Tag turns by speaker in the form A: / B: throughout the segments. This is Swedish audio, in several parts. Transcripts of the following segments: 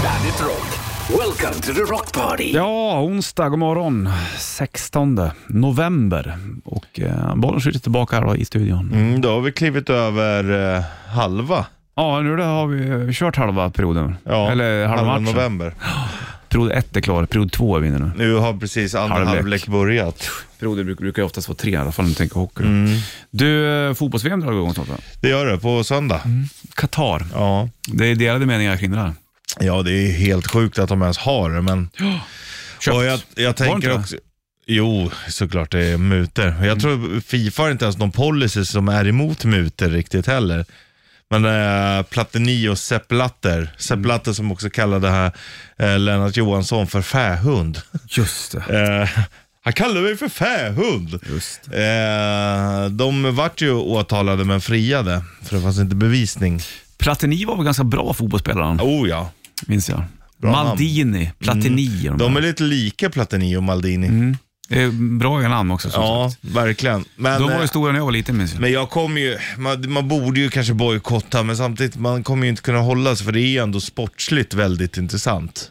A: Classic Rock. Welcome to the Rock Party.
B: Ja, onsdag, god morgon. 16 november. Och eh, bollen skjuter tillbaka här då i studion.
C: Mm, då har vi klivit över eh, halva.
B: Ja, nu då har vi eh, kört halva perioden.
C: Ja,
B: Eller halva matchen.
C: november.
B: Period ett är klar, period två är vi inne nu.
C: Nu har precis andra
B: Halvlek.
C: halvlek, börjat.
B: Perioder bruk- brukar ju oftast vara tre i alla fall om du tänker hockey. då. Du, eh, fotbolls-VM drar igång snart va?
C: Det gör det, på söndag.
B: Mm. Qatar.
C: Ja.
B: Det är delade meningar kring det där.
C: ja, det är ju helt sjukt att de ens har det, men...
B: Köpt.
C: Och jag, jag
B: Var det
C: tänker
B: inte Mm.
C: också... Jo, såklart det är mutor. Jag tror Fifa har inte ens någon policy som är emot mutor riktigt heller. Men äh, Platini och Sepp Blatter,
B: Mm.
C: Sepp Blatter som också kallade här, eh, Lennart Johansson för fähund.
B: Just det.
C: Eh, han kallade mig för fähund.
B: Just
C: Eh, de vart ju åtalade men friade, för det fanns inte bevisning.
B: Platini var väl ganska bra fotbollsspelare, han,
C: Oh ja.
B: minns jag.
C: Bra namn.
B: Maldini, Platini. och
C: De
B: Mm. De
C: är lite lika Platini och Maldini.
B: Mm. är... Bra namn också. som
C: Ja,
B: sagt.
C: verkligen. Men,
B: De var
C: eh,
B: ju stora när jag var liten, minns jag.
C: men jag kommer ju, man, man borde ju kanske bojkotta, men samtidigt, man kommer ju inte kunna hålla sig för det är ju ändå sportsligt väldigt intressant.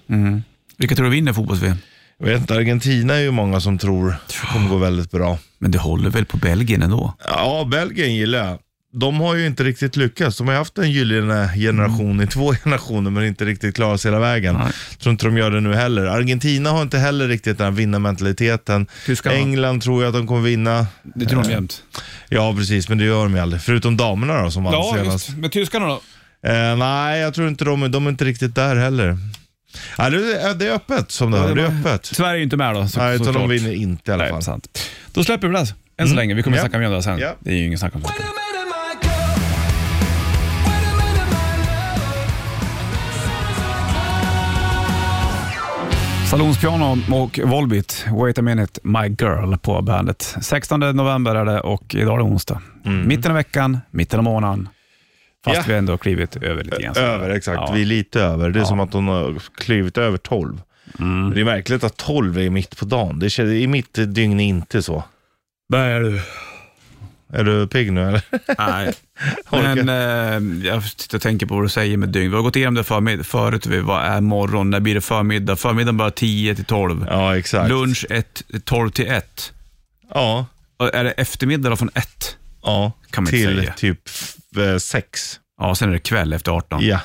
B: Vilka tror du vinner fotbolls-VM?
C: Jag vet inte, Argentina är ju många som tror kommer gå väldigt bra.
B: Men det håller väl på Belgien ändå?
C: Ja, Belgien gillar jag. De har ju inte riktigt lyckats. De har ju haft en gyllene generation i två generationer men inte riktigt klarat sig hela vägen.
B: Nej.
C: Tror inte de gör det nu heller. Argentina har inte heller riktigt den här vinnarmentaliteten.
B: Tyskarna.
C: England tror jag att de kommer vinna.
B: Det tror de jämt.
C: Ja, precis, men det gör de ju aldrig. Förutom damerna då som vann senast.
B: Men tyskarna då?
C: Eh, nej, jag tror inte de, de är inte riktigt där heller. Nej, det, är- det är öppet som det
B: Ja, det
C: hör. Det är
B: var-
C: öppet.
B: Sverige är ju inte med då, så,
C: Nej, utan de
B: såklart.
C: vinner inte i alla fall.
B: Nej, sant. Mm. Då släpper vi det, än så länge. Vi kommer
C: Ja.
B: snacka mer om det här sen.
C: Ja.
B: Det är ju ingen snack om saken. Salonspiano och Volbit, Wait a minute, My Girl på bandet. 16 november är det och idag är det onsdag. Mitten av veckan, mitten av månaden. Fast
C: Ja.
B: vi har ändå klivit över lite grann.
C: Över, exakt.
B: Ja. Mm.
C: Vi är lite över. Det är som att de har klivit över 12. Det är märkligt att 12 är mitt på dagen. Det känns, I mitt dygn är inte så.
B: Där är du.
C: Är du pigg nu eller?
B: Nej,
C: Orkar.
B: men eh, jag sitter och tänker på vad du säger med dygn. Vi har gått igenom det förmid- förut. Vi, vad är morgon? När blir det förmiddag? Förmiddagen börjar 10 till 12.
C: Ja, exakt.
B: Lunch 1, 12 till 1.
C: Ja,
B: Och Är det eftermiddag då från 1?
C: ja.
B: Kan man inte
C: till
B: säga.
C: typ 6.
B: Ja, sen är det kväll efter 18.
C: Ja.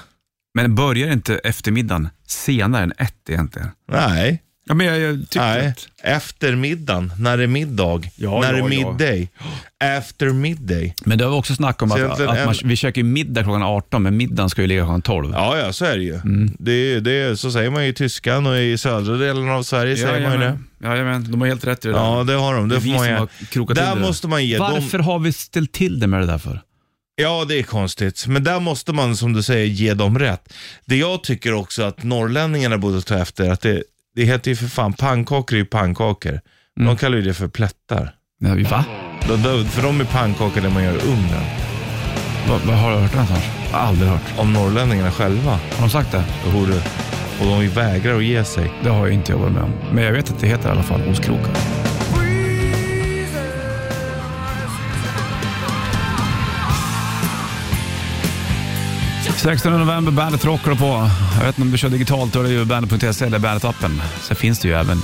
B: Men börjar inte eftermiddagen senare än 1 egentligen?
C: Nej,
B: Ja, men jag, jag tyckte
C: nej.
B: att...
C: Eftermiddagen, när det är middag.
B: Ja,
C: när
B: ja,
C: det är
B: ja.
C: midday. After midday.
B: Men det var också snack om
C: Så
B: att, att
C: egentligen
B: man,
C: en-
B: vi käkar ju middag klockan 18, men middagen ska ju ligga klockan 12.
C: Ja, ja, så är det ju.
B: Mm.
C: Det, det, så säger man ju i tyskan och i södra delen av Sverige säger man ju det.
B: Jajamän. Jajamän, de har helt rätt i det där.
C: Ja, det har de. Det,
B: Det är
C: får
B: vi
C: man
B: som
C: ge.
B: har krokat
C: Där
B: till det.
C: måste man ge dem.
B: Varför har vi ställt till det med det där för?
C: Ja, det är konstigt. Men där måste man, som du säger, ge dem rätt. Det jag tycker också att norrlänningarna borde ta efter, att det, det heter ju för fan, pannkakor är ju pannkakor. De kallar ju det för plättar.
B: Nej, va?
C: De, de, för de är pannkakor när man gör i ugnen.
B: Va, va, har du hört det någonstans? Aldrig hört.
C: Om norrlänningarna själva.
B: Har de sagt det?
C: Hur, det- och de vägrar att ge sig.
B: Det har jag inte jobbat med om. Men jag vet att det heter i alla fall ostkrokar. ...16 november, bandet rockar på. Jag vet inte om du kör digitalt, då är det ju bandet.se eller bandet-appen. Sen finns det ju även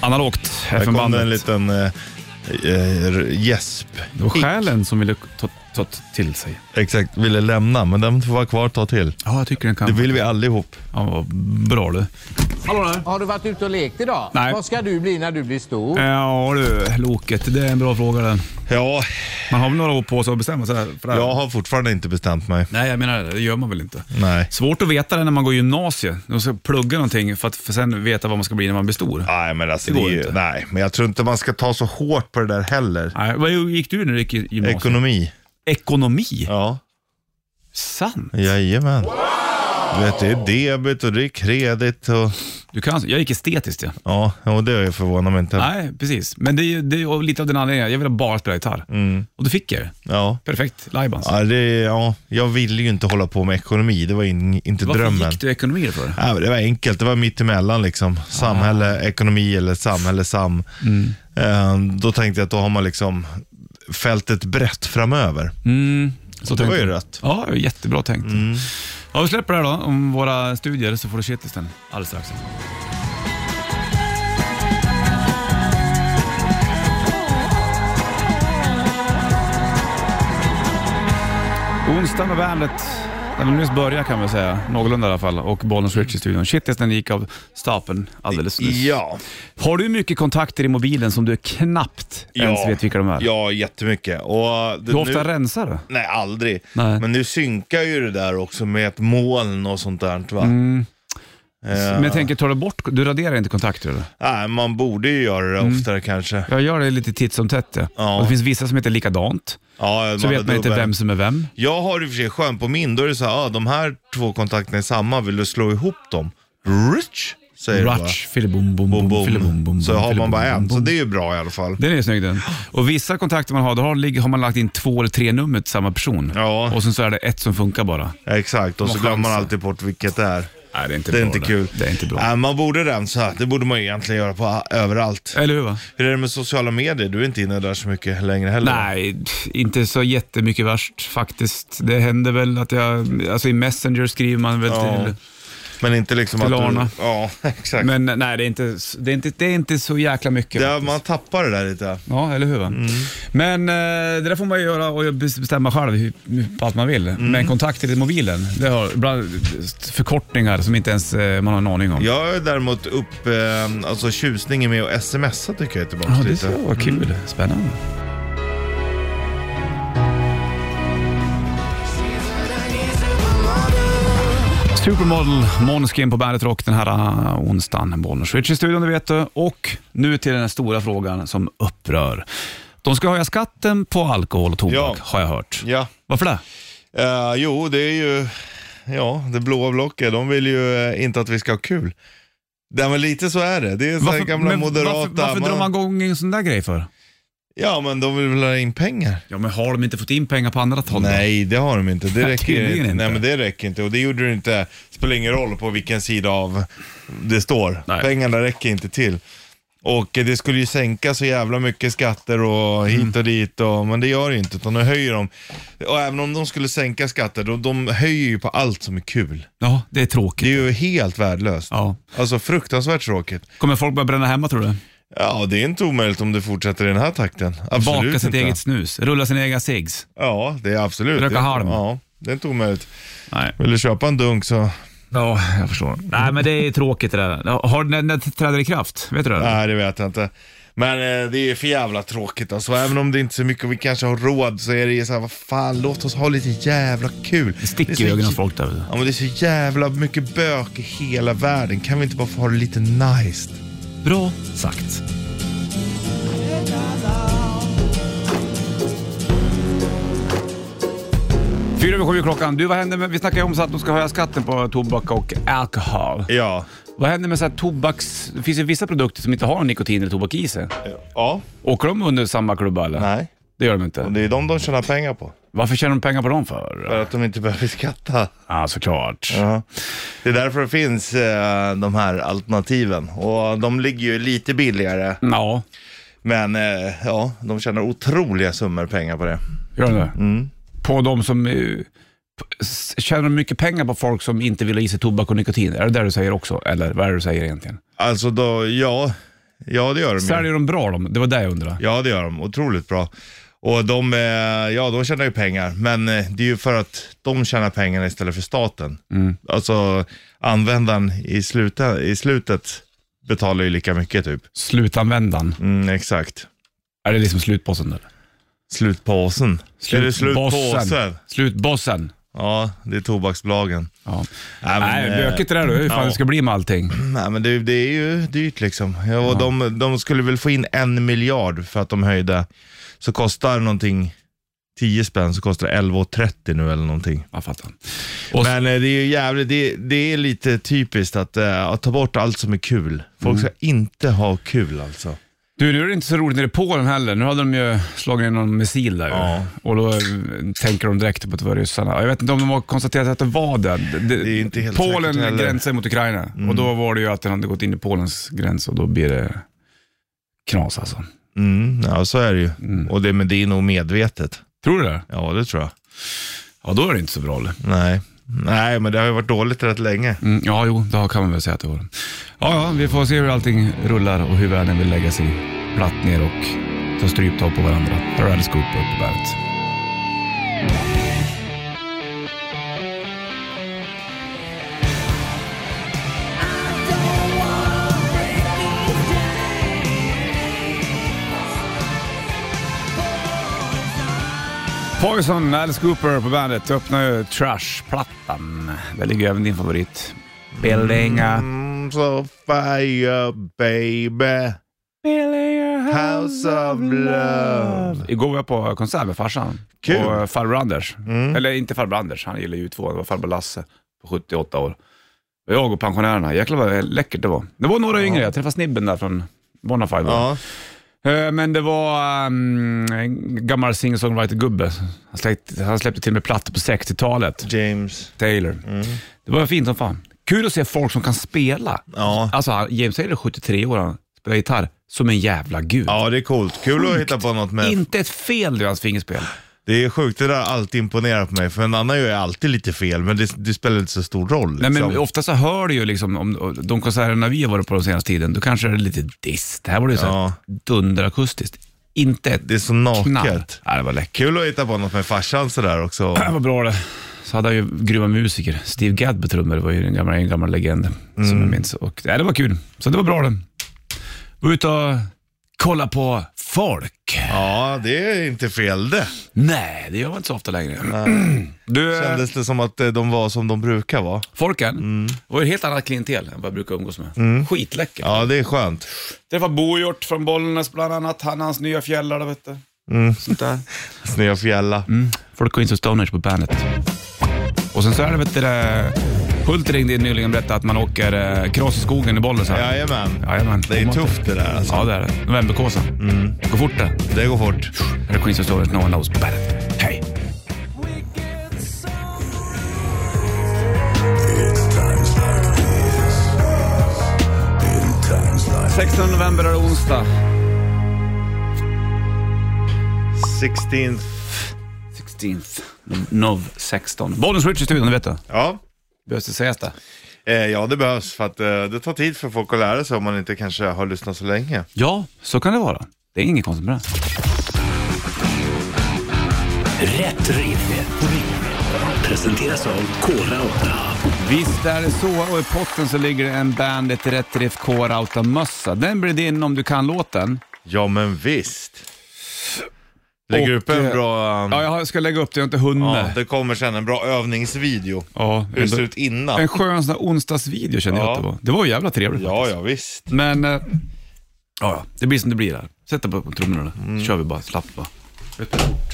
B: analogt,
C: Där kom det en
B: FM-bandet.
C: liten eh, eh, gäsp.
B: Det var själen som ville ta, ta till sig.
C: Exakt, ville lämna, men den får vara kvar ett tag till.
B: Ja, jag tycker den
C: Det
B: kan...
C: vill vi allihop.
B: Ja, vad bra du. Hallå där!
D: Har du varit ute och lekt idag?
B: Nej.
D: Vad ska du bli när du blir stor?
B: Ja du, Loket. Det är en bra fråga den.
C: Ja,
B: Man har väl några år på sig att bestämma sig för det här?
C: jag har fortfarande inte bestämt mig.
B: Nej, jag menar det. Det gör man väl inte.
C: Nej.
B: Svårt att veta det när man går gymnasiet. Man ska plugga någonting för att för sen veta vad man ska bli när man blir stor.
C: Nej men, alltså,
B: Det
C: det
B: går
C: är ju,
B: inte.
C: nej, men jag tror inte man ska ta så hårt på det där heller.
B: Nej, vad gick du när du gick i gymnasiet?
C: Ekonomi.
B: Ekonomi?
C: Ja.
B: Sant?
C: Jajamän. Du vet, det är debet och det är kredit och...
B: Du kan, alltså- jag gick estetiskt ja.
C: Ja, och det har jag förvånat mig inte.
B: Nej, precis. Men det är, ju- det är ju lite av den anledningen. Jag ville bara spela gitarr. Och då fick jag det.
C: Ja.
B: Perfekt. Lajbans.
C: Mm. Ja, det, ja, jag ville ju inte hålla på med ekonomi. Det var in, inte
B: Varför
C: drömmen.
B: gick du ekonomi då för?
C: Nej, men det var enkelt. Det var mitt emellan liksom. Samhälle,
B: Ah.
C: ekonomi eller samhälle, sam.
B: Mm.
C: Eh, Då tänkte jag att då har man liksom fältet brett framöver.
B: Mm, så
C: Det var
B: tänkte
C: ju Mm.
B: jag.
C: rätt.
B: Ja, jättebra tänkt. Ja, vi släpper det här då, om våra studier, så får du shitlisten alldeles strax. Onsdag med bandet. Den har nyss börjat kan vi säga, någorlunda i alla fall, och Bollnäs Rich i studion. Shitlisten gick av stapeln alldeles nyss.
C: Mm. Ja.
B: Har du mycket kontakter i mobilen som du knappt ens vet vilka de är?
C: Ja, jättemycket. Och det,
B: Hur ofta
C: nu,
B: rensar du?
C: Nej, aldrig.
B: Nej.
C: Men nu synkar ju det där också med ett moln och sånt där. Va?
B: Mm.
C: Eh,
B: Men jag tänker, tar du bort, du raderar inte kontakter eller?
C: nej, man borde ju göra det
B: Mm.
C: oftare kanske.
B: Jag gör det lite titt som tätt ja.
C: Ja.
B: Och det finns vissa som heter likadant.
C: Ja,
B: Så vet man inte
C: dubbel.
B: vem som är vem.
C: Jag har i och för sig skön på min, då är det så här, ah, de här två kontakterna är samma, vill du slå ihop dem? Rich, säger du bara.
B: Rutsch, filibom, bom,
C: Boom,
B: bom,
C: boom.
B: filibom, bom,
C: så har man
B: filibom,
C: bara
B: bom,
C: en, så
B: bom.
C: det är ju bra i alla fall.
B: Den är ju snygg den. Och vissa kontakter man har, då har, ligger- har man lagt in två eller tre nummer till samma person.
C: Ja.
B: Och sen så är det ett som funkar bara.
C: Exakt, och så
B: Man
C: glömmer man
B: chansar.
C: alltid bort vilket det är.
B: Nej, det är inte
C: Det är
B: bra.
C: inte kul. Äh.
B: Det är inte bra.
C: Nej, man borde rensa, det borde man ju egentligen göra på a- överallt.
B: Eller hur va?
C: Hur är det med sociala medier? Du är inte inne där så mycket längre heller.
B: Nej, pff, inte så jättemycket värst faktiskt. Det händer väl att jag, alltså i Messenger skriver man väl
C: Ja.
B: till.
C: Men inte liksom
B: Till
C: att
B: Arna.
C: du... Ja, exakt.
B: Men nej, det är inte, det är inte, det är inte så jäkla mycket.
C: det, är-
B: faktiskt.
C: man tappar det där lite.
B: Ja, eller hur? Va?
C: Mm.
B: Men eh, det där får man ju göra och bestämma själv hur- på allt man vill.
C: Mm.
B: Men kontakter i mobilen, det har ibland förkortningar som inte ens eh, man har en aning om.
C: Jag är däremot upp, eh, alltså tjusningen med att smsa tycker jag är tillbaka
B: Ja, det
C: lite.
B: ska vara kul.
C: Mm.
B: Spännande. Supermodel, Måneskin på Bandet Rock den här uh, onsdagen. Bollnäs Switch i studion, det vet du. Och nu till den här stora frågan som upprör. De ska höja skatten på alkohol och tobak,
C: Ja.
B: har jag hört.
C: Ja.
B: Varför det?
C: Eh, jo, det är ju, ja, det blåa blocket, de vill ju eh, inte att vi ska ha kul. Nej men lite så är det. Det är så här
B: Varför,
C: gamla
B: men
C: moderata.
B: varför, varför drar man igång en sån där grej för?
C: Ja men de vill väl ha in pengar.
B: Ja, men har de inte fått in pengar på andra håll? då?
C: Nej det har de inte. Det räcker
B: Tydligen
C: inte.
B: inte.
C: Nej men det räcker inte och det gjorde det inte. Spelar ingen roll på vilken sida av det står.
B: Nej.
C: Pengarna räcker inte till. Och eh, det skulle ju sänka så jävla mycket skatter och
B: Mm.
C: hit och dit, och, men det gör det inte. Utan nu höjer de. Och även om de skulle sänka skatter, de, de höjer ju på allt som är kul.
B: Ja, det är tråkigt.
C: Det är ju helt värdelöst.
B: Ja.
C: Alltså fruktansvärt tråkigt.
B: Kommer folk börja bränna hemma tror du?
C: Ja, det är inte omöjligt om det fortsätter i den här takten. Absolut
B: Baka sitt
C: inte.
B: eget snus, rulla sina egna cigs.
C: Ja, det är absolut.
B: Röka
C: det,
B: halm.
C: Ja, det är inte omöjligt.
B: Nej.
C: Vill du köpa en dunk så...
B: Ja, jag förstår. Nej, men det är tråkigt det där. Har, när, när det träder i kraft? Vet du det?
C: Nej, det vet jag inte. Men eh, det är för jävla tråkigt alltså. Även om det inte är så mycket och vi kanske har råd så är det ju så här, vad fan, låt oss ha lite jävla kul.
B: Det
C: är
B: sticker
C: så
B: i ögonen
C: jä-
B: på folk där. vet du.
C: Ja, men det är så jävla mycket bök i hela världen. Kan vi inte bara få ha det lite nice?
B: Bra sagt. Fyra över sju är klockan. Du, vad händer med, vi snackade ju om så att de ska höja skatten på tobak och alkohol.
C: Ja.
B: Vad händer med så här tobaks... Det finns ju vissa produkter som inte har någon nikotin eller tobak i sig.
C: Ja.
B: Åker de under samma klubba eller?
C: Nej.
B: Det gör de
C: Och
B: inte.
C: det är de de tjänar pengar på.
B: Varför tjänar de pengar på dem för?
C: För att de inte behöver skatta.
B: Ja, såklart.
C: Ja. Det är därför det finns eh, de här alternativen. Och de ligger ju lite billigare.
B: Ja,
C: Men eh, ja, de tjänar otroliga summor pengar på det.
B: gör de det?
C: Mm.
B: På de som... eh, p- s- Tjänar de mycket pengar på folk som inte vill ha i sig tobak och nikotin? Är det det du säger också? Eller vad är det du säger egentligen?
C: Alltså då, ja. Ja det gör de ju.
B: Säljer de bra de? Det var det jag undrade.
C: Ja det gör de, otroligt bra. Och de, eh, ja de tjänar ju pengar. Men eh, det är ju för att de tjänar pengarna istället för staten. Alltså användaren i, sluta, i slutet betalar ju lika mycket typ.
B: Slutanvändaren.
C: Mm, exakt.
B: Är det liksom slutbossen? Eller?
C: Slutpåsen. Är det slutpåsen?
B: Slutbossen.
C: Ja, det är tobaksbolagen.
B: Ja.
C: Nej, men,
B: Nej,
C: eh,
B: bökigt det där du. Hur fan
C: ja.
B: det ska bli med allting.
C: Nej men det, det är ju dyrt liksom. Ja, och de, de skulle väl få in en miljard för att de höjde. Så kostar någonting 10 spänn så kostar det 11,30 nu eller någonting.
B: Jag fattar. Och
C: Men eh, det är ju jävligt, det, det är lite typiskt att, eh, att ta bort allt som är kul. Folk ska inte ha kul alltså.
B: Du, nu är det inte så roligt nere i Polen heller. Nu hade de ju slagit in någon missil där ju.
C: Ja.
B: Och då eh, tänker de direkt på att det var ryssarna. Jag vet inte om de har konstaterat att det var det. Det,
C: Det är inte helt
B: Polen
C: säkert heller. Mm.
B: gränsar mot Ukraina och då var det ju att den hade gått in i Polens gräns och då blir det knas alltså.
C: Mm, ja så är det ju. Och det, men det är nog medvetet.
B: Tror du det?
C: Ja det tror jag.
B: Ja, då är det inte så bra. eller?
C: Nej. Nej, men det har ju varit dåligt rätt länge.
B: Mm, ja, jo, det kan man väl säga att det var. Ja, ja, vi får se hur allting rullar och hur världen vill lägga sig platt ner och ta stryptag på varandra. Här är Alice Cooper på bandet. Poison, Alice Cooper på bandet. Jag öppnar ju Trash-plattan. Där ligger även din favorit. Billinga.
C: Mm, so fire baby, house of love.
B: Igår var jag på konsert med farsan
C: Kul. Mm.
B: och eh, farbror Anders. Eller inte farbror Anders, han gillar ju två. Det var farbror Lasse på 78 år. Och Jag och pensionärerna. Jäklar vad läckert det var. Det var några yngre. Jag träffade snibben där från Bonafide. va?
C: Ja,
B: Eh, Men det var um, en gammal singer-songwriter-gubbe. Han släppte, han släppte till och med plattor på 60-talet.
C: James.
B: Taylor. Det var fint som fan. Kul att se folk som kan spela.
C: Ja.
B: Alltså han- James Taylor är 73 år, han spelar gitarr som en jävla gud.
C: ja, det är coolt. Kul att hitta på något med.
B: Inte ett fel i hans fingerspel.
C: Det är sjukt, det där har alltid imponerat på mig. För en annan gör ju alltid lite fel, men det, det spelar inte så stor roll.
B: Nej, men
C: liksom.
B: ofta så hör du ju liksom, om de konserterna vi har varit på den senaste tiden, då kanske det är lite dist. Här var det ju så här
C: Ja.
B: dunderakustiskt. Inte ett
C: Det är så
B: knall.
C: naket.
B: Nej, det var läckert.
C: Kul att hitta på något med farsan sådär också.
B: Det var bra det. Så hade han ju grymma musiker. Steve Gadd på trummor, det var ju en gammal, en gammal legend som jag minns. Och, nej, det var kul, så det var bra det. Gå ut och kolla på folk.
C: Ja, det är inte fel det.
B: Nej, det gör man inte så ofta längre. Du, eh,
C: Kändes det som att eh, de var som de brukar vara.
B: folken var ju ett helt annat klientel än vad jag brukar umgås med. Skitläcker.
C: Ja, det är skönt.
B: Träffade Bojort från Bollnäs bland annat. Han och hans nya fjällar, vet du. Sånt där.
C: Snöa fjälla.
B: Mm. Folk går in som stoners på bandet. Och sen så är det, vet du, det, Hult ringde in nyligen och berättade att man åker eh, cross i skogen i Bollnäs. här.
C: Jajamän.
B: Jajamän.
C: Det är tufft det där alltså.
B: Ja, det är det. Novemberkåsan. Mm. Gå fort det.
C: Det går fort.
B: Här är Queens of Stone Age, No One Knows på bandet. Hej! Sextonde november är det onsdag.
C: 16th.
B: 16th. Nov 16. Bollens Rich i studion, det vet du.
C: Ja.
B: Behövs det sägas det?
C: Eh, ja, det behövs för att eh, det tar tid för folk att lära sig om man inte kanske har lyssnat så länge.
B: Ja, så kan det vara. Det är inget konstigt med det.
A: Rätt riff. Rätt riff. Presenteras av Kora 8.
B: Visst är det så, och i potten så ligger det en Bandet Rätt Riff K-Rauta-mössa. Den blir din om du kan låten.
C: Ja, men visst. Lägger
B: Och,
C: upp en
B: eh,
C: bra...
B: Ja,
C: Ja,
B: jag ska lägga upp det, jag har inte hunnit.
C: det kommer sen en bra övningsvideo.
B: Ja,
C: Hur det
B: ändå-
C: ser ut innan.
B: En skön sån där onsdagsvideo känner jag
C: Ja.
B: att det var. Det var ju jävla trevligt
C: Ja,
B: faktiskt.
C: ja visst.
B: Men, eh, ja, ja, det blir som det blir där. Sätt dig på trummorna då. Så kör vi bara slappt bara. Rätt fort.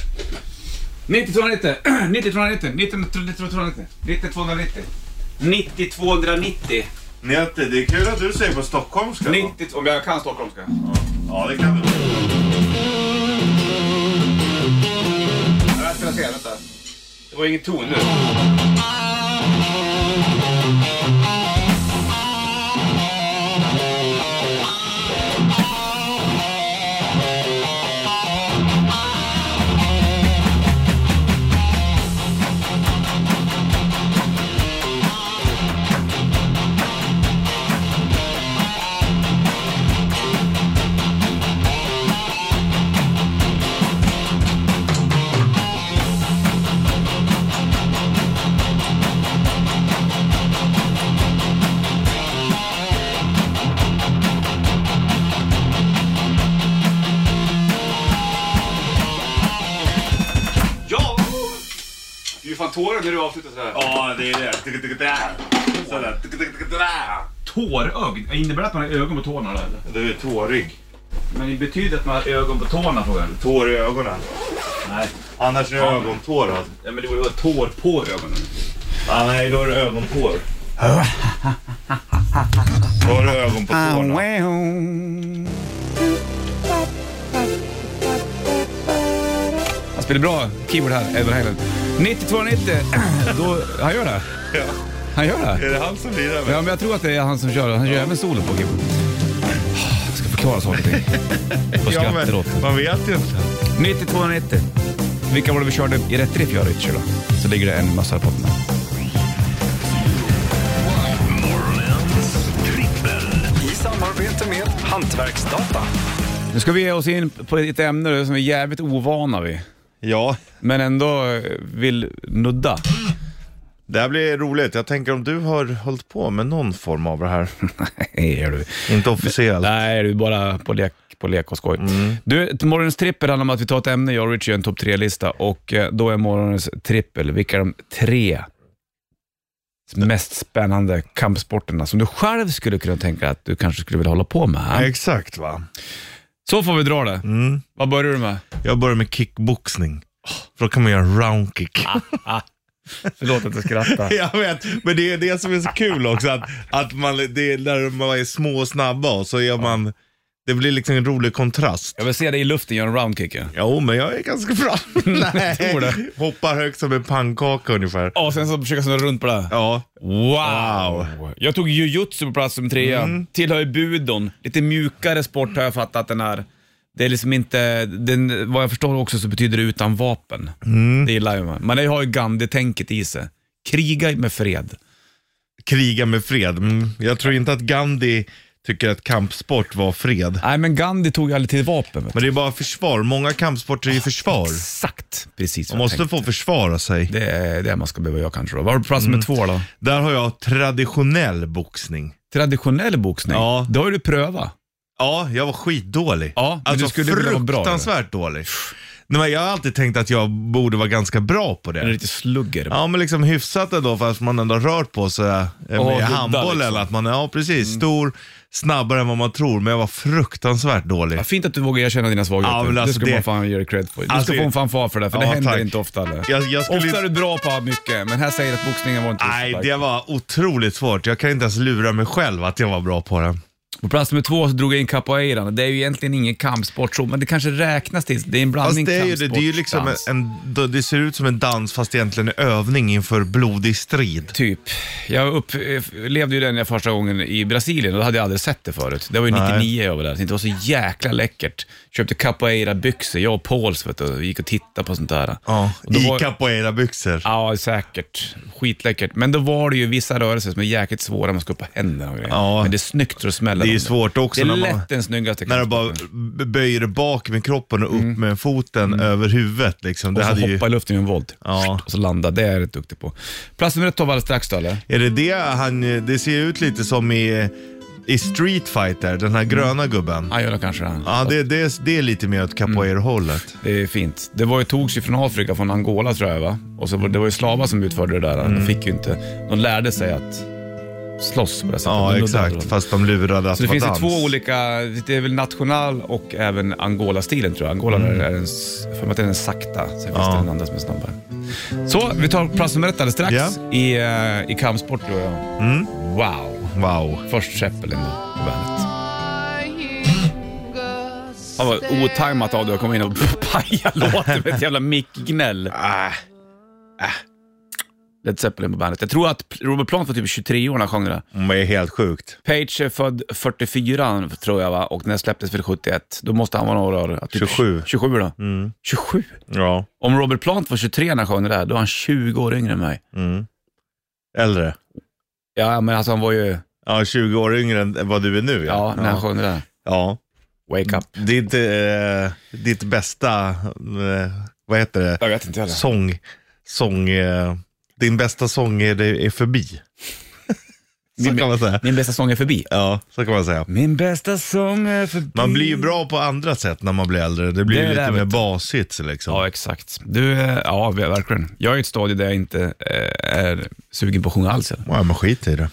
B: 9290, 9290, 9290, 9290, 9290,
C: Nete, det är kul att du säger på stockholmska.
B: 90, om jag kan stockholmska.
C: Ja, det kan du.
B: Jag ska se, vänta. Det var ingen ton nu. Ja! Det är ju fan tårar när du avslutar sådär.
C: Ja, det är det. Sådär.
B: Tårögd? Innebär det att man har ögon på tårna då eller?
C: Du är tårig.
B: Men det betyder att man har ögon på tårna frågan.
C: Tår i ögonen.
B: Nej.
C: Annars är du ögontårad.
B: Ja, men det borde vara tår på ögonen.
C: Ah, nej, då är det ögontår. Då har du ögon på
B: Ah,
C: tårna.
B: Han spelar bra keyboard här, Edward Hagen. 9290, då, han gör det.
C: Ja.
B: Han gör det.
C: Är det han som lirar
B: Ja,
C: med?
B: men jag tror att det är han som kör. Han kör även solen på keyboard. Jag ska förklara saker och ting. Vad
C: Ja,
B: skrattar åt.
C: men man vet ju inte.
B: 9290. Vilka var det vi körde i rätt riff, jag och Richard? Då? Så ligger det en massa på den. här.
A: Hantverksdata.
B: Nu ska vi ge oss in på ett ämne som vi är jävligt ovana vid,
C: Ja,
B: men ändå eh, vill nudda.
C: det här blir roligt. Jag tänker om du har hållit på med någon form av det här.
B: Nej, gör du.
C: Inte officiellt.
B: Nej, du är bara på lek, på lek och skoj. Du, t- morgonens trippel handlar om att vi tar ett ämne, jag och Richie gör en topp tre-lista och eh, då är morgonens trippel, vilka är de tre mest spännande kampsporterna som du själv skulle kunna tänka att du kanske skulle vilja hålla på med?
C: Exakt va.
B: Så får vi dra det.
C: Mm.
B: Vad börjar du med?
C: Jag börjar med kickboxning. För då kan man göra en roundkick.
B: Ah, Förlåt att jag skrattar.
C: Jag vet, men det är det som är så kul också. Att, att man, det är när man är små och snabba och så gör man, det blir liksom en rolig kontrast.
B: Jag vill se dig i luften göra en roundkick. ja.
C: Jo, men jag är ganska bra. Nej.
B: tror det.
C: Hoppar högt som en pannkaka ungefär.
B: Ja, och sen så försöka snurra runt på det. här.
C: Ja,
B: Wow. Mm. Jag tog jujutsu på plats som trea. Tillhör ju budon. Lite mjukare sport har jag fattat att den är. Det är liksom inte, den, vad jag förstår också så betyder det utan vapen. Det gillar ju man. Man har ju Gandhi-tänket i sig. Kriga med fred.
C: kriga med fred. Mm. Jag tror inte att Gandhi tycker att kampsport var fred.
B: Nej, men Gandhi tog ju aldrig till vapen. Vet du.
C: Men det är bara försvar. Många kampsporter är ju försvar.
B: Exakt precis
C: Man
B: vad jag
C: måste
B: tänkte.
C: få försvara sig.
B: Det är det man ska behöva göra kanske då. Vad har du på plats med två då?
C: Där har jag traditionell boxning.
B: Traditionell boxning.
C: Ja.
B: Det har ju du prövat.
C: Ja, jag var skitdålig.
B: Ja, men
C: alltså
B: du skulle vilja vara bra,
C: fruktansvärt dålig. Nej, men jag har alltid tänkt att jag borde vara ganska bra på
B: En
C: det.
B: riktig slugger.
C: Ja, men liksom hyfsat ändå fast man ändå har rört på sig eh, med
B: nudda,
C: handboll
B: liksom. Mm.
C: eller att man är, ja precis, stor, snabbare än vad man tror. Men jag var fruktansvärt dålig.
B: Ja, fint att du vågar erkänna dina svagheter.
C: Ja, men
B: det
C: alltså
B: ska
C: det-
B: man fan ge dig cred för. Du
C: Alltså
B: ska
C: det-
B: få en fanfar för det, för det
C: Ja,
B: händer
C: tack.
B: inte ofta. Eller?
C: Jag, jag skulle...
B: Ofta är du bra på mycket, men här säger att boxningen var inte
C: Nej,
B: så stark.
C: det var otroligt svårt. Jag kan inte ens lura mig själv att jag var bra på det.
B: På plats nummer två så drog jag in capoeiran. Det är ju egentligen ingen kampsport, så, men det kanske räknas till. Det är en
C: Fast
B: blandning
C: det är ju det,
B: kampsport
C: det är ju liksom en,
B: dans.
C: en, det ser ut som en dans fast egentligen en övning inför blodig strid.
B: Typ. Jag upplevde ju den första gången i Brasilien och då hade jag aldrig sett det förut. Det var ju
C: Nej.
B: 99 jag var där. Det var så jäkla läckert. Köpte capoeira-byxor, jag och Pauls vet du, och gick och tittade på sånt där.
C: Ja,
B: Och då
C: i
B: var-
C: capoeira-byxor.
B: Ja, säkert. Skitläckert. Men då var det ju vissa rörelser som är jäkligt svåra. Man ska upp på händerna och grejer.
C: Ja.
B: Men det är snyggt så det smäller.
C: Det är
B: om
C: svårt också
B: Det är
C: när man-
B: lätt den snyggaste
C: När du bara
B: kampsporten.
C: b- böjer dig bak med kroppen och upp med foten över huvudet. Liksom. Det
B: Mm. Och så
C: hade
B: hoppa
C: ju...
B: i luften i en volt.
C: Ja.
B: Och så landa. Det är jag rätt duktig på. Plats nummer ett tar vi alldeles strax då, eller?
C: Är det det han... Det ser ut lite som i, i Street Fighter, den här gröna gubben.
B: Mm. Ja, Mm. gör det kanske han.
C: Ja, det, det, det är lite mer åt capoeira-hållet.
B: Det är fint. Det var ju, togs ju från Afrika, från Angola tror jag va? Och så var, det var ju slavar som utförde det där.
C: Mm.
B: De fick ju inte... De lärde sig att slåss på det sättet.
C: Ja,
B: De nuddade
C: exakt.
B: varandra.
C: Fast de lurade att
B: Så det
C: vara
B: finns ju
C: dans.
B: två olika, det är väl national och även Angola-stilen tror jag. Angola
C: Mm.
B: är den, s- för mig att det är den sakta, sen finns det den andra som är snabbare. Så, vi tar plats nummer ett alldeles strax
C: Ja. Mm.
B: i, eh, i kampsport du och jag. Wow!
C: Wow.
B: Först Zeppelin då, på bandet. Det var otajmat av dig att komma in och paja låten med ett jävla mickgnäll.
C: Äh,
B: Ah. Led Zeppelin på bandet. Jag tror att Robert Plant var typ 23 år när han sjöng det där.
C: men det Mm, är helt sjukt.
B: Page är född 44 tror jag va, och den här släpptes väl 71. Då måste han vara några år. ja, Typ
C: 27.
B: 27 då. 27?
C: Mm, Ja.
B: Om Robert Plant var 23 när han sjöng det där, då var han 20 år yngre än mig.
C: Mm. Äldre.
B: Ja, men alltså han var ju... Ja,
C: Ja, 20 år yngre än vad du är nu. Ja,
B: när han sjöng det där.
C: ja.
B: Wake up.
C: Ditt, eh, ditt bästa, eh, vad heter det?
B: Jag vet inte heller.
C: Sång, sång, eh, din bästa sång är, det är förbi. så
B: Min-
C: kan man säga.
B: Min bästa sång är förbi.
C: Ja, så kan man säga.
B: Min bästa sång är förbi.
C: Man blir ju bra på andra sätt när man blir äldre. Det blir
B: Det är det,
C: lite mer
B: vet du.
C: basigt liksom.
B: Ja, exakt. Du, eh, ja ver- verkligen. Jag är i ett stadie där jag inte eh, är sugen på att sjunga alls.
C: Ja, men skit i det.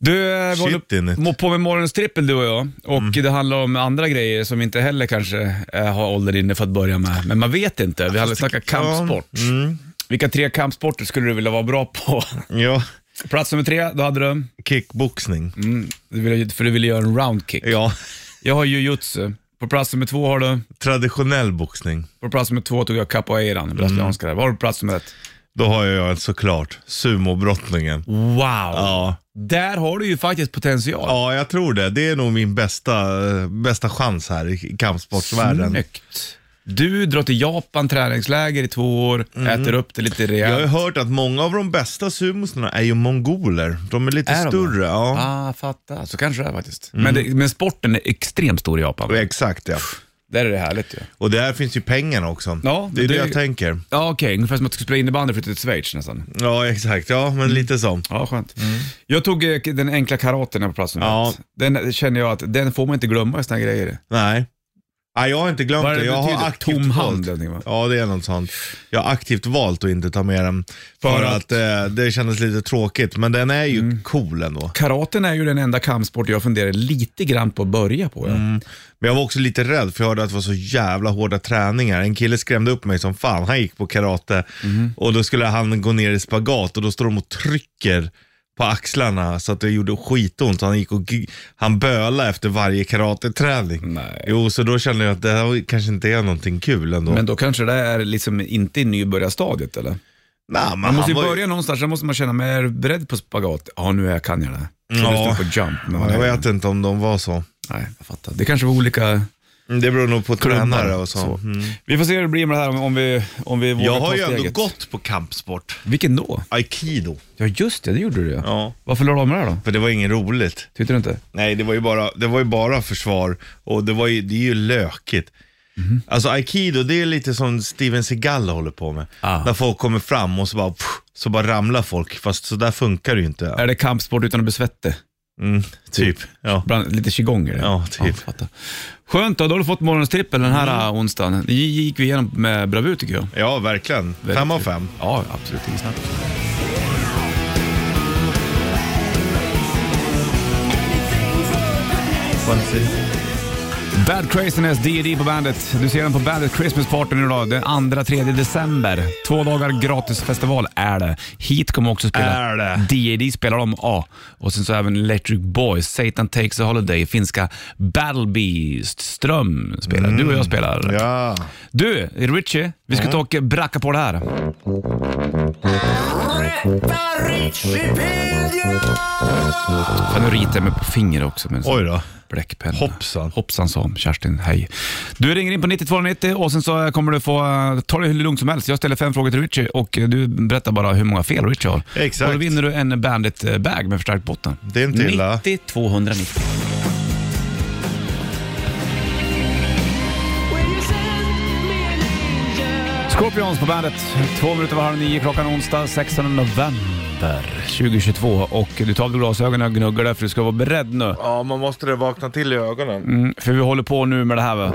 B: Du, eh, vi
C: Shit Mm. in it.
B: håller må på med morgonens trippel du och jag. Och det handlar om andra grejer som inte heller kanske eh, har ålder inne för att börja med. Men man vet inte. Vi hade snackat kampsport.
C: Mm.
B: Vilka tre kampsporter skulle du vilja vara bra på?
C: Ja,
B: Plats nummer tre, då hade du?
C: kickboxning.
B: Mm, du ville, för du ville göra en roundkick.
C: Ja,
B: Jag har jujutsu. På plats nummer två har du?
C: traditionell boxning.
B: På plats nummer två tog jag
C: Mm.
B: capoeiran, brasilianska. där. Vad har du på plats nummer ett?
C: Då har jag såklart sumobrottningen.
B: Wow!
C: Ja.
B: Där har du ju faktiskt potential.
C: ja, jag tror det. Det är nog min bästa, bästa chans här i kampsportsvärlden.
B: Snyggt. Du drar till Japan, träningsläger i två år,
C: Mm.
B: äter upp det lite
C: Jag har ju
B: rejält.
C: hört att många av de bästa sumosarna är ju mongoler. De är lite
B: Är de det?
C: större. Ja.
B: Ah, fattar. Så kanske det är faktiskt. Men, det, men sporten är extremt stor i Japan.
C: Exakt ja.
B: Där är det härligt ju. Ja.
C: Och där finns ju pengarna också.
B: Ja,
C: det är
B: det-
C: det jag tänker.
B: Ja, okej. Ungefär som att du skulle spela innebandy och flytta till Schweiz nästan.
C: Ja, exakt. Ja, men
B: Mm.
C: lite så.
B: Ja, skönt. Jag tog eh, den enkla karaten här på plats nummer
C: Mm. Ja.
B: ett. Den känner jag att den får man inte glömma i såna här grejer.
C: Nej. Nej, jag har inte glömt
B: Vad är
C: det.
B: det
C: Jag har
B: betyder?
C: aktivt
B: Tom hand,
C: valt.
B: någonting, va?
C: Ja, det är något sånt. Jag har aktivt valt att inte ta med den. För,
B: För
C: att,
B: att- Mm.
C: eh, det kändes lite tråkigt, men den är ju cool ändå.
B: Karaten är ju den enda kampsport jag funderar lite grann på att börja på. Ja.
C: Mm. Men jag var också lite rädd för jag hörde att det var så jävla hårda träningar. En kille skrämde upp mig som fan. Han gick på karate
B: Mhm.
C: och då skulle han gå ner i spagat och då står de och trycker på axlarna så att det gjorde skitont. Han gick och g- han bölade efter varje karateträning.
B: Nej.
C: Jo, så då kände jag att det här kanske inte är någonting kul ändå.
B: Men då kanske det är liksom inte i nybörjarstadiet eller?
C: Nej, men
B: Man måste ju
C: han var
B: börja någonstans, sen måste man känna, men är du beredd på spagat? Ja, nu är jag, kan jag det. här. Så
C: Ja.
B: du står på jump. Men
C: Ja,
B: nej,
C: jag vet inte om de var så. Mm,
B: nej, jag fattar. Det kanske var olika
C: Det beror nog på tränare
B: klubbar.
C: och så.
B: Så.
C: Mm.
B: Vi får se hur det blir med det här om, om, vi, om vi vågar
C: Jag har
B: ta
C: ju ändå
B: steget.
C: gått på kampsport.
B: Vilken då?
C: Aikido.
B: Ja, just det, det gjorde du ja.
C: Ja.
B: Varför la du av med det här då?
C: För det var inget roligt.
B: Tyckte du inte?
C: Nej, det var ju bara, det var ju bara försvar och det, var ju, det är ju lökigt. Alltså aikido, det är lite som Steven Seagal håller på med.
B: Ah.
C: När folk kommer fram och så bara, pff, så bara ramlar folk, fast så där funkar det ju inte.
B: Är det kampsport utan att bli svettig?
C: Mm, typ. Ja.
B: Bland, lite qigong är det.
C: Ja, typ. Mm.
B: fattar. Skönt då, då har du fått morgonens trippel den här äh, onsdagen. Det gick vi igenom med bravur tycker jag.
C: ja, verkligen. Fem av fem.
B: Ja, absolut. Inget snack. Bad Craziness, D&D på bandet. Du ser den på Bandet Christmas Party nu då, den 2-3 december. Två dagar gratisfestival är det. Heat kommer också spela.
C: Är det?
B: D&D spelar de, ja. Och sen så även Electric Boys, Satan Takes a Holiday, finska Battle Beast, Ström spelar. Du och jag spelar.
C: Ja.
B: Du, Richie, vi ska ta och bracka på det här. Fan, nu ritar jag mig på fingret också med en sån
C: Oj då.
B: bläckpenna.
C: Hoppsan.
B: Hoppsan sa hon. Kerstin, hej. Du ringer in på 9290 och sen så kommer du få eh, ta det hur lugnt som helst. Jag ställer fem frågor till Richie och eh, du berättar bara hur många fel Richie har.
C: Exakt.
B: Och då vinner du en Bandit-bag med förstärkt botten.
C: Det är inte illa.
B: 90 290. Scorpions på bandet. Två minuter var halv nio klockan onsdag 16 november 2022. Och du tar av dig glasögonen och gnuggar där för du ska vara beredd nu.
C: Ja, man måste det vakna till i ögonen.
B: Mm, för vi håller på nu med det här va?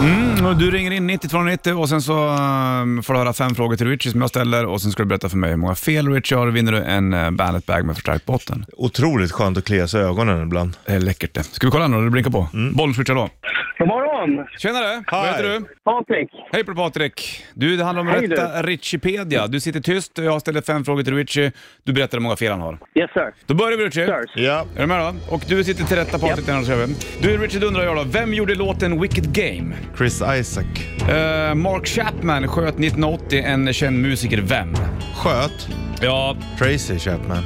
B: Mm, och du ringer in 9290 och sen så eh, får du höra fem frågor till Richie som jag ställer och sen ska du berätta för mig hur många fel Richie har och vinner du en uh, Bandet-bag med förstärkt botten.
C: Otroligt skönt att klia sig i ögonen ibland.
B: Det är läckert det. Ska vi kolla nu då? Du blinkar på. Mm. Bollswitch, hallå.
E: God morgon!
B: Tjenare! Vad heter du?
E: Patrik.
B: Hej på dig, Patrik! Du, det handlar om
E: Hej, du.
B: rätta Richipedia. Du sitter tyst och jag ställer fem frågor till Richie. Du berättar hur många fel han har.
E: Yes sir.
B: Då börjar vi Richie.
E: Sirs.
C: Ja.
B: Är du med då? Och du sitter till rätta Patrik den här tjuven. Du Richard undrar jag då, vem gjorde låten Wicked Game?
C: Chris Isaac.
B: Eh, Mark Chapman sköt 1980 en känd musiker, vem?
C: Sköt.
B: Ja,
C: Tracy Chapman.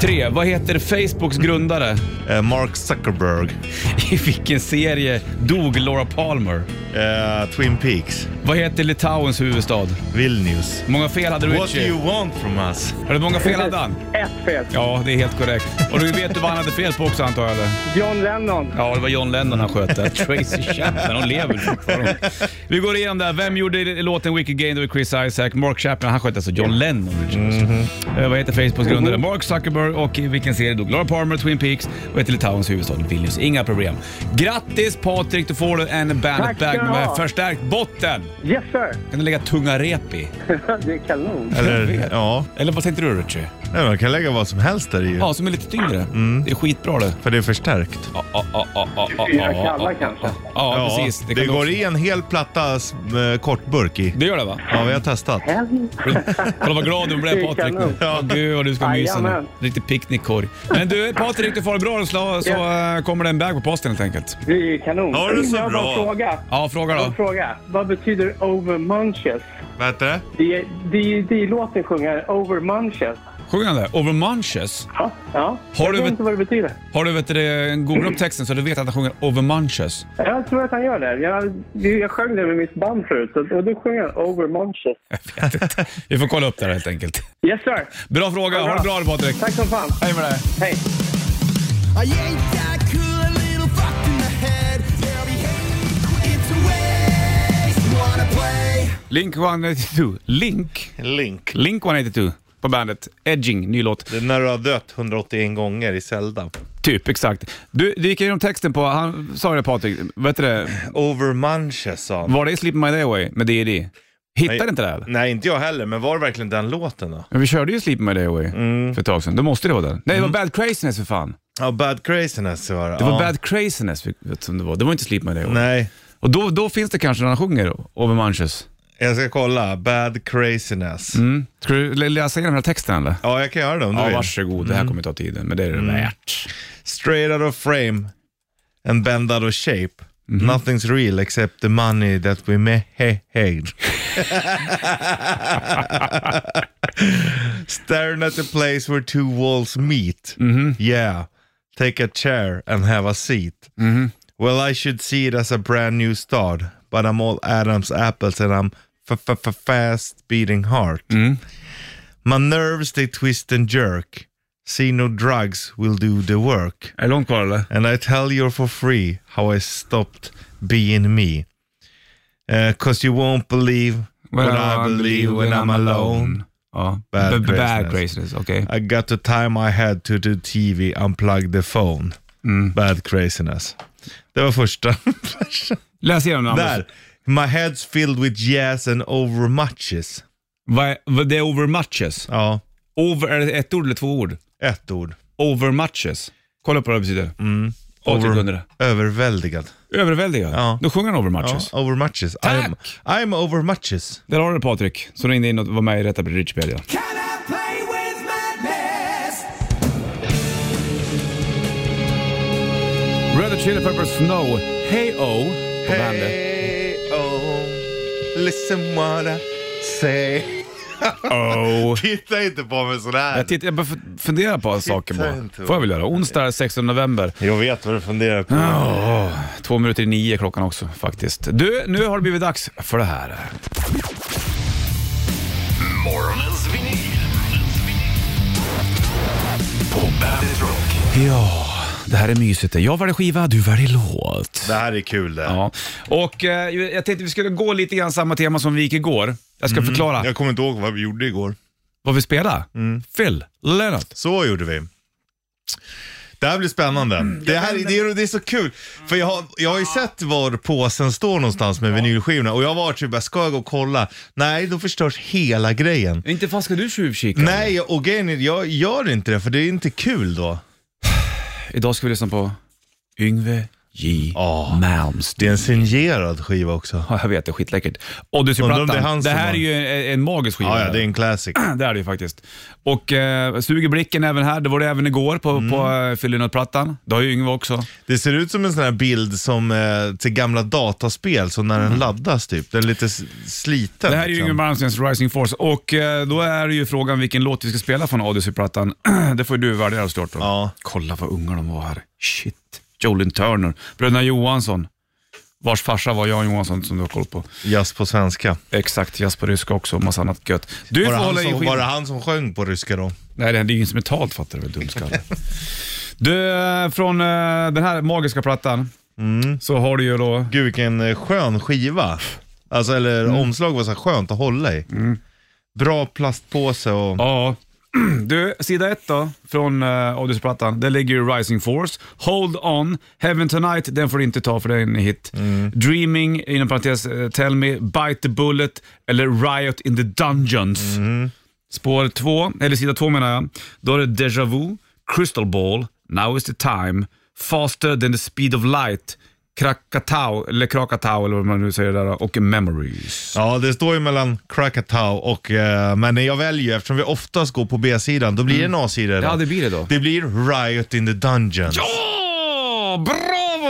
B: tre. Vad heter Facebooks grundare?
C: Eh, Mark Zuckerberg.
B: I vilken serie dog Laura Palmer?
C: Eh, Twin Peaks.
B: Vad heter Litauens huvudstad?
C: Vilnius.
B: Många fel hade
C: What do
B: Richie.
C: you want from us?
B: Har du många fel hade han?
E: Ett fel.
B: Ja, det är helt korrekt. Och du vet du vad han hade fel på också antar jag eller?
E: John Lennon.
B: Ja, det var John Lennon han sköt där. Tracy Chapman, hon lever fortfarande. Vi går igenom där. Vem gjorde låten Wicked Game? Det var Chris Isaac. Mark Chapman, han sköt alltså John Lennon. Eh, Vad heter Facebooks grundare? Mark Zuckerberg. Och i vilken serie dog Laura Palmer, Twin Peaks och heter Litauens huvudstad Vilnius. Inga problem. Grattis Patrik, du får du en
E: Tack ska
B: Bandet-bag
E: du
B: med
E: ha.
B: förstärkt botten.
E: Yes sir.
B: Kan du lägga tunga rep i?
E: det är kanon.
C: Eller, ja.
B: Eller vad tänkte du Richie?
C: Nej, man kan lägga vad som helst där i ju.
B: Ja, som är lite tyngre. Det är skitbra det.
C: För det är förstärkt.
B: Mm. Ja, ja, ja, ja, ja, ja,
E: Fyra
B: ja,
E: kallar
B: ja.
E: kanske.
B: Ja, precis.
C: Det,
B: kan du
C: går
B: också-
C: i en hel platta s- eh, kortburk i.
B: Det gör det va?
C: Ja, vi har testat.
B: Kolla vad glad du blev
E: Det
B: Patrik.
E: kan nog.
B: Ja. Gud vad du ska mysa nu.
E: Jajamän.
B: Riktig picknickkorg. Men du Patrik, du får ha det bra och slå, så eh, kommer det en bag på posten helt enkelt.
E: Det är kanon.
C: Ja, det är så
E: jag har bara
C: bra.
E: en fråga.
B: Ja, fråga
E: Jag har en
B: då.
E: fråga. Vad betyder over munches?
C: Vad heter det?
E: Det är- det är- det är låten sjunger over munches.
B: Sjunger han det? Over Munches?
E: Ja, ja.
B: Har
E: jag
B: du
E: vet
B: vet-
E: inte vad det betyder.
B: Har du vet du, googlat upp texten så du vet att han sjunger Over Munches?
E: Jag tror att han gör det. Jag, jag sjöng det med mitt band förut så- och då sjöng han Over Monster.
B: Jag vet inte. Vi får kolla upp det här helt enkelt.
E: Yes sir!
B: Bra fråga. Ha det bra då, Patrik.
E: Tack som fan.
B: Hej med dig.
E: Hej!
F: I ain't that cool, a little fucked in the head. They'll be hating, it's a waste. Wanna play?
B: Link 182. Link?
C: Link.
B: Link 182 på bandet. Edging, ny låt.
C: Det är när du har dött 181 gånger i Zelda.
B: Typ, exakt. Du, du gick igenom texten på, han sa det Patrik, vet du det,
C: Over Munches sa han.
B: var det i Sleep My Day Away med D.D.? Hittade inte det här?
C: Nej, inte jag heller, men var det verkligen den låten då?
B: Men vi körde ju Sleep My Day Away
C: Mm.
B: för ett tag sedan. Då måste det vara den. Nej, det var Bad Craziness för fan.
C: Ja, Bad Craziness var det.
B: Det var
C: Mm. ja.
B: Bad Craziness vi- vet, som det var. Det var inte Sleep My Day Away.
C: Nej,
B: Och då, då finns det kanske när han sjunger Over Munches.
C: jag ska kolla. Bad Craziness.
B: Mm. Ska du lä- läsa igenom hela texten eller?
C: Ja, Mm. jag kan göra det om du
B: Ja,
C: vill.
B: varsågod. Det här kommer ta tiden, men det är det värt.
C: Straight out of frame and bend out of shape. Nothing's real except the money that we made. Staring at the place where two walls meet. Yeah, take a chair and have a seat. Well, I should see it as a brand new start, but I'm all Adam's apples and I'm f- f- f- fast beating heart. My nerves, they twist and jerk. See no drugs will do the work.
B: Är det långt kvar eller?
C: And I tell you for free how I stopped being me. Uh, Cause you won't believe what I believe when I'm alone.
B: Ja.
C: Bad
B: Bad, bad
C: Craziness.
B: Craziness, okej.
C: I got to time I had to the TV, unplug the phone. Bad craziness. Det var första.
B: Läs igenom den Anders.
C: Där. My head's filled with yes and over matches.
B: Vad vad det är over matches?
C: Ja,
B: Over, är det ett ord eller två ord?
C: ett ord.
B: Over matches. Kolla upp vad det betyder.
C: Mm.
B: Patrik kunde det.
C: överväldigad.
B: Överväldigad.
C: Ja.
B: Då sjunger han over
C: Ja,
B: matches.
C: over matches. I'm,
B: Tack!
C: I'm over matches.
B: Där har du det Patrik, som ringde in och var med i Rätta Wikipedia.
F: Can I play with madness?
B: Red Hot Chili Peppers Snow, Hey O på bandet.
C: Hey, oh, listen what I say.
B: Oh.
C: Titta inte på mig sådär.
B: Jag, tittar, jag bara f- funderar på saker
C: Titta
B: bara.
C: inte på
B: Får jag väl göra? Onsdag 16 november.
C: Jag vet vad du funderar på.
B: Åh, två minuter i nio klockan också faktiskt. Du, nu har det blivit dags för det här.
A: Morgonens vinyl. På Bandit Rock.
B: Ja, det här är mysigt. Jag väljer skiva, du väljer låt.
C: Det här är kul det.
B: Ja, och eh, jag tänkte vi skulle gå lite grann samma tema som vi gick igår. Jag
C: Mm.
B: ska förklara
C: Jag kommer inte ihåg vad vi gjorde igår.
B: vad vi spelar.
C: Mm.
B: Phil Lennart.
C: Så gjorde vi. Det här blir spännande.
B: Mm.
C: det, här, det, är, det är så kul. För jag har, jag har ju sett var påsen står någonstans med vinylskivorna och jag har varit typ bara, ska jag gå och kolla? Nej, då förstörs hela grejen.
B: Inte fan ska du tjuvkika?
C: Nej, och grejen är, jag gör inte det för det är inte kul då.
B: Idag ska vi lyssna på Yngve J.
C: Ja. Det
B: Malmsteen.
C: är en signerad skiva också.
B: Ja, jag vet, det är skitläckert.
C: Undrar om
B: Odysseyplattan.
C: det är
B: Det,
C: han
B: det
C: som
B: här
C: har-
B: är ju en, en magisk skiva.
C: Ja, ja, det är en classic.
B: Det är det ju faktiskt. Och eh, suger blicken även här. Det var det även igår på,
C: Mm.
B: på eh, Phil Lynott-plattan. Det har ju Yngve också.
C: Det ser ut som en sån här bild som eh, till gamla dataspel, så när den laddas typ. Den är lite s- sliten.
B: Mm.
C: liksom.
B: Det här är ju Yngwie Malmsteens Rising Force och eh, då är det ju frågan vilken låt vi ska spela från Odyssey-plattan. det får ju du välja såklart. då.
C: Ja.
B: Kolla vad unga de var här. Shit. Jolin Turner, bröderna Johansson, vars farsa var Jan Johansson som du har koll på.
C: Jazz på svenska.
B: Exakt, jazz på ryska också och massa annat gött. Du
C: Var
B: får
C: det, han
B: hålla i
C: som, var det
B: skivan.
C: han som sjöng på ryska då?
B: Nej, det är ju ingen som är talt fattar du väl, dumskalle. du, eh, från eh, den här magiska plattan så har du ju då...
C: Gud vilken eh, skön skiva. Alltså, eller
B: Mm.
C: omslag var så här skönt att hålla i. Bra plastpåse och...
B: Ja. Du, sida ett då, från uh, Odyssey-plattan. Där ligger ju Rising Force. Hold On, Heaven Tonight, den får du inte ta för det är en hit. Dreaming, inom parentes, eh, Tell Me, Bite the Bullet eller Riot in the Dungeons. Spår två, eller sida två menar jag. Då är det Deja Vu, Crystal Ball, Now is the time, Faster than the speed of light, Krakatau, eller Krakatau eller vad man nu säger där då, och Memories.
C: Ja, det står ju mellan Krakatau och... Eh, men jag väljer ju, eftersom vi oftast går på B-sidan, då blir
B: Mm.
C: det en A-sida idag.
B: Ja, det blir det då.
C: Det blir Riot in the Dungeons.
B: Åh, bravo!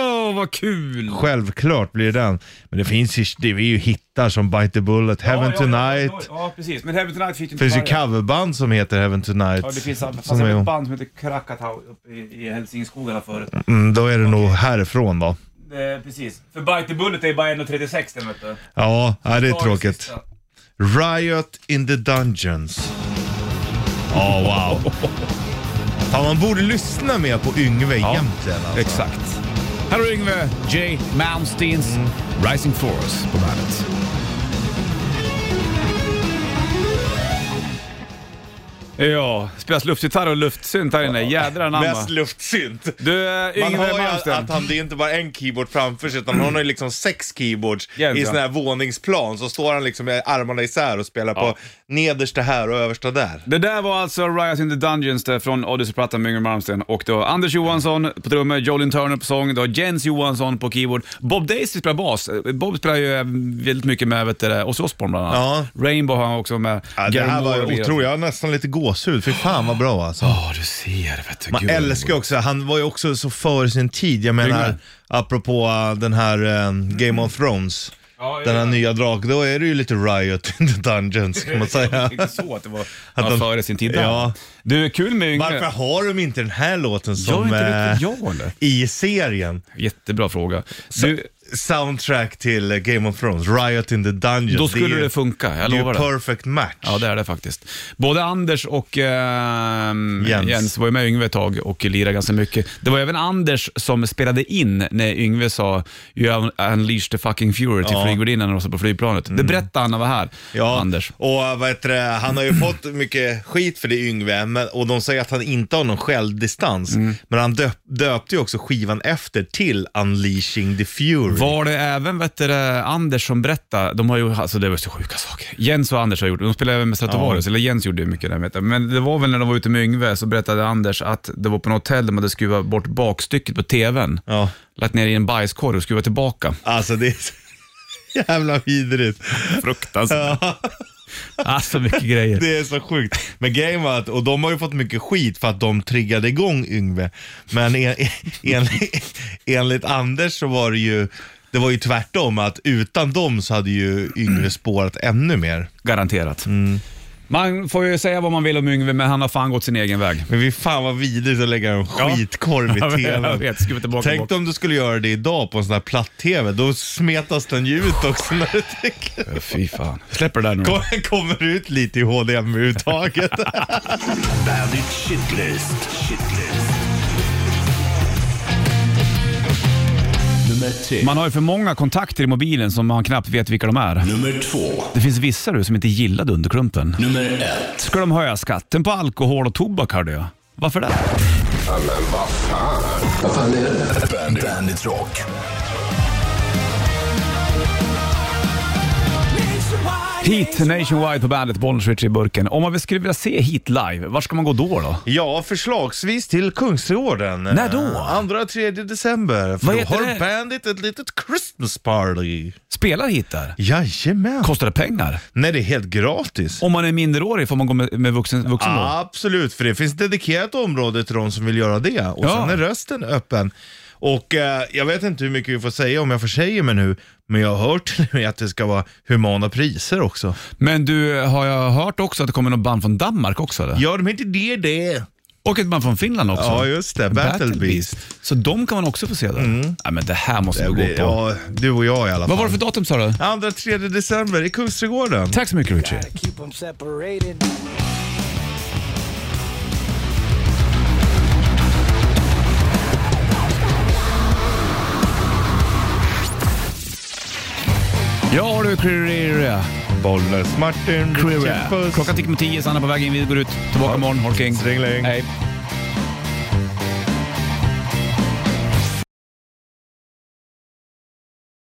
B: Åh, vad kul!
C: Självklart blir det den. Men det finns ju, det är ju hittar som Bite the Bullet, Heaven Tonight.
B: Ja, precis. Men Heaven Tonight fick ju
C: Det
B: inte
C: finns ju
B: varje.
C: coverband som heter Heaven Tonight.
B: Ja, det finns fanns
C: som
B: ett
C: är,
B: band som heter Krakatau uppe i, i Hälsingskogarna förut.
C: mm, då är det nog härifrån då.
B: Eh, precis. För Bite the Bullet är bara 1.36 den vet du.
C: Ja, ja det är tråkigt.
B: sista.
C: Riot in the Dungeons. Ja, wow. Fan, man borde lyssna mer på Yngve egentligen. Alltså.
B: Exakt. Här har Yngve J. Malmsteens Rising Force på bandet. Ja, spelas luftgitarr och luftsynt här inne. Jädrar anamma.
C: Mest luftsynt.
B: Du, eh,
C: Man
B: Yngve
C: hör ju
B: Malmsteen.
C: att han, det är inte bara en keyboard framför sig utan han har ju liksom sex keyboards
B: Jävlar.
C: i sån här våningsplan. Så står han liksom med armarna isär och spelar på nedersta här och översta där.
B: Det där var alltså Riot in the Dungeons där från Odyssey-plattan med Yngwie Malmsteen. Och då Anders Johansson på trummor, Jolin Turner på sång, då Jens Johansson på keyboard. Bob Daisy spelar bas. Bob spelar ju eh, väldigt mycket med vet du, det, Ozzy Osbourne bland annat. Rainbow har han också med.
C: Ja, det
B: Gary
C: här var
B: Moore
C: ju
B: och lirat.
C: otroligt. Jag har nästan lite gåshud. Fy fan vad bra alltså.
B: Ja, du ser. Vet du,
C: Man
B: Gud, vad
C: älskar ju
B: roligt.
C: också, han var ju också så före sin tid. Jag menar,
B: Yngve.
C: apropå eh, den här eh, Game of Thrones. Den här nya drak, då är det ju lite riot in the dungeons kan man säga.
B: Inte så att det var
C: Att
B: ja,
C: de-
B: före sin tid. där.
C: Ja.
B: Du, kul med Yngve.
C: Varför har de inte den här låten
B: Jag är
C: som
B: inte
C: eh,
B: riktigt jag eller?
C: i serien?
B: Jättebra fråga. Du,
C: soundtrack till eh, Game of Thrones, Riot in the Dungeon.
B: då skulle
C: är ju-
B: det funka, jag
C: det är
B: lovar
C: ju
B: det.
C: perfect match.
B: Ja, det är det faktiskt. Både Anders och ehm, Jens.
C: Jens.
B: var ju med Yngve ett tag och lirade ganska mycket. Det var även Anders som spelade in när Yngve sa “You have unleashed the fucking fury” till
C: Ja. Mm.
B: flygvärdinnan när de satt på flygplanet. Det berättade han när han var här,
C: Ja,
B: Anders.
C: och eh, vad heter det, han har ju fått mycket skit för det Yngve, men, och de säger att han inte har någon självdistans.
B: Mm.
C: Men han döp, döpte ju också skivan efter till Unleashing the Fury.
B: Var det även vet du, det, Anders som berättade, de har ju, alltså det var så sjuka saker. Jens och Anders har gjort, de spelade även med Stratovarius, eller Jens gjorde ju mycket där vet jag. Men det var väl när de var ute med Yngve så berättade Anders att det var på något hotell de hade skruvat bort bakstycket på TVn.
C: Ja.
B: Lagt ner i en bajskorv och skruvat tillbaka.
C: Alltså det är så jävla vidrigt.
B: Fruktansvärt. Alltså mycket grejer.
C: Det är så sjukt. Men grejen var att, och de har ju fått mycket skit för att de triggade igång Yngve. Men en, en, enligt Anders så var det ju, det var ju tvärtom att utan dem så hade ju Yngve spårat ännu mer.
B: Garanterat. Man får ju säga vad man vill om Yngve, men han har fan gått sin egen väg.
C: Men vi fan vad vidrigt att lägga en
B: Ja.
C: skitkorv
B: Jag
C: i
B: vet,
C: tvn.
B: jag vet. Skruva tillbaka
C: Tänk
B: bort.
C: om du skulle göra det idag på en sån här platt-tv. Då smetas den ju ut också när du tänker.
B: Fy fan. Släpper det där nu.
C: Kom- Kommer ut lite i HDMI-uttaget.
A: Bandit Shitlist. Shitlist. Nummer tre.
B: Man har ju för många kontakter i mobilen som man knappt vet vilka de är.
A: Nummer två.
B: Det finns vissa du som inte gillar Dunderklumpen.
A: Nummer ett.
B: Ska de höja skatten på alkohol och tobak hörde jag. Varför det?
A: Bandit, Bandit Rock.
B: Heat Nationwide på bandet, Bollnäs i burken. Om man skulle vilja se Heat live, var ska man gå då? då?
C: Ja, förslagsvis till Kungsträdgården.
B: När då?
C: Eh, Andra och tredje december. För
B: Vad
C: då
B: heter
C: har
B: det?
C: Bandit ett litet Christmas party.
B: Spelar Heat där?
C: Jajamän.
B: Kostar det pengar?
C: Nej, det är helt gratis.
B: Om man är minderårig får man gå med, med vuxen, vuxen då?
C: Absolut, för det finns dedikerat område till de som vill göra det. Och
B: Ja.
C: sen är rösten öppen. Och eh, jag vet inte hur mycket vi får säga om jag försäger mig nu, men jag har hört till och med att det ska vara humana priser också.
B: Men du, har jag hört också att det kommer någon band från Danmark också? Eller?
C: Ja, de heter det det.
B: Och ett band från Finland också?
C: Ja, just det. Battle Beast.
B: Så de kan man också få se där? Ja, men det här måste vi gå på.
C: Ja, du och jag i alla fall.
B: Vad var det för datum sa du?
C: Andra, tredje december i Kungsträdgården.
B: Tack så mycket Richie.
F: Keep them separated.
B: Ja du, Creeria.
C: Bollnäs, Martin,
B: Creeria.
C: Richie, Puss.
B: Klockan tickar mot tio, Sanna på väg in. Vi går ut. Tillbaka imorgon. Håll king.
C: Strängling.
B: Hej.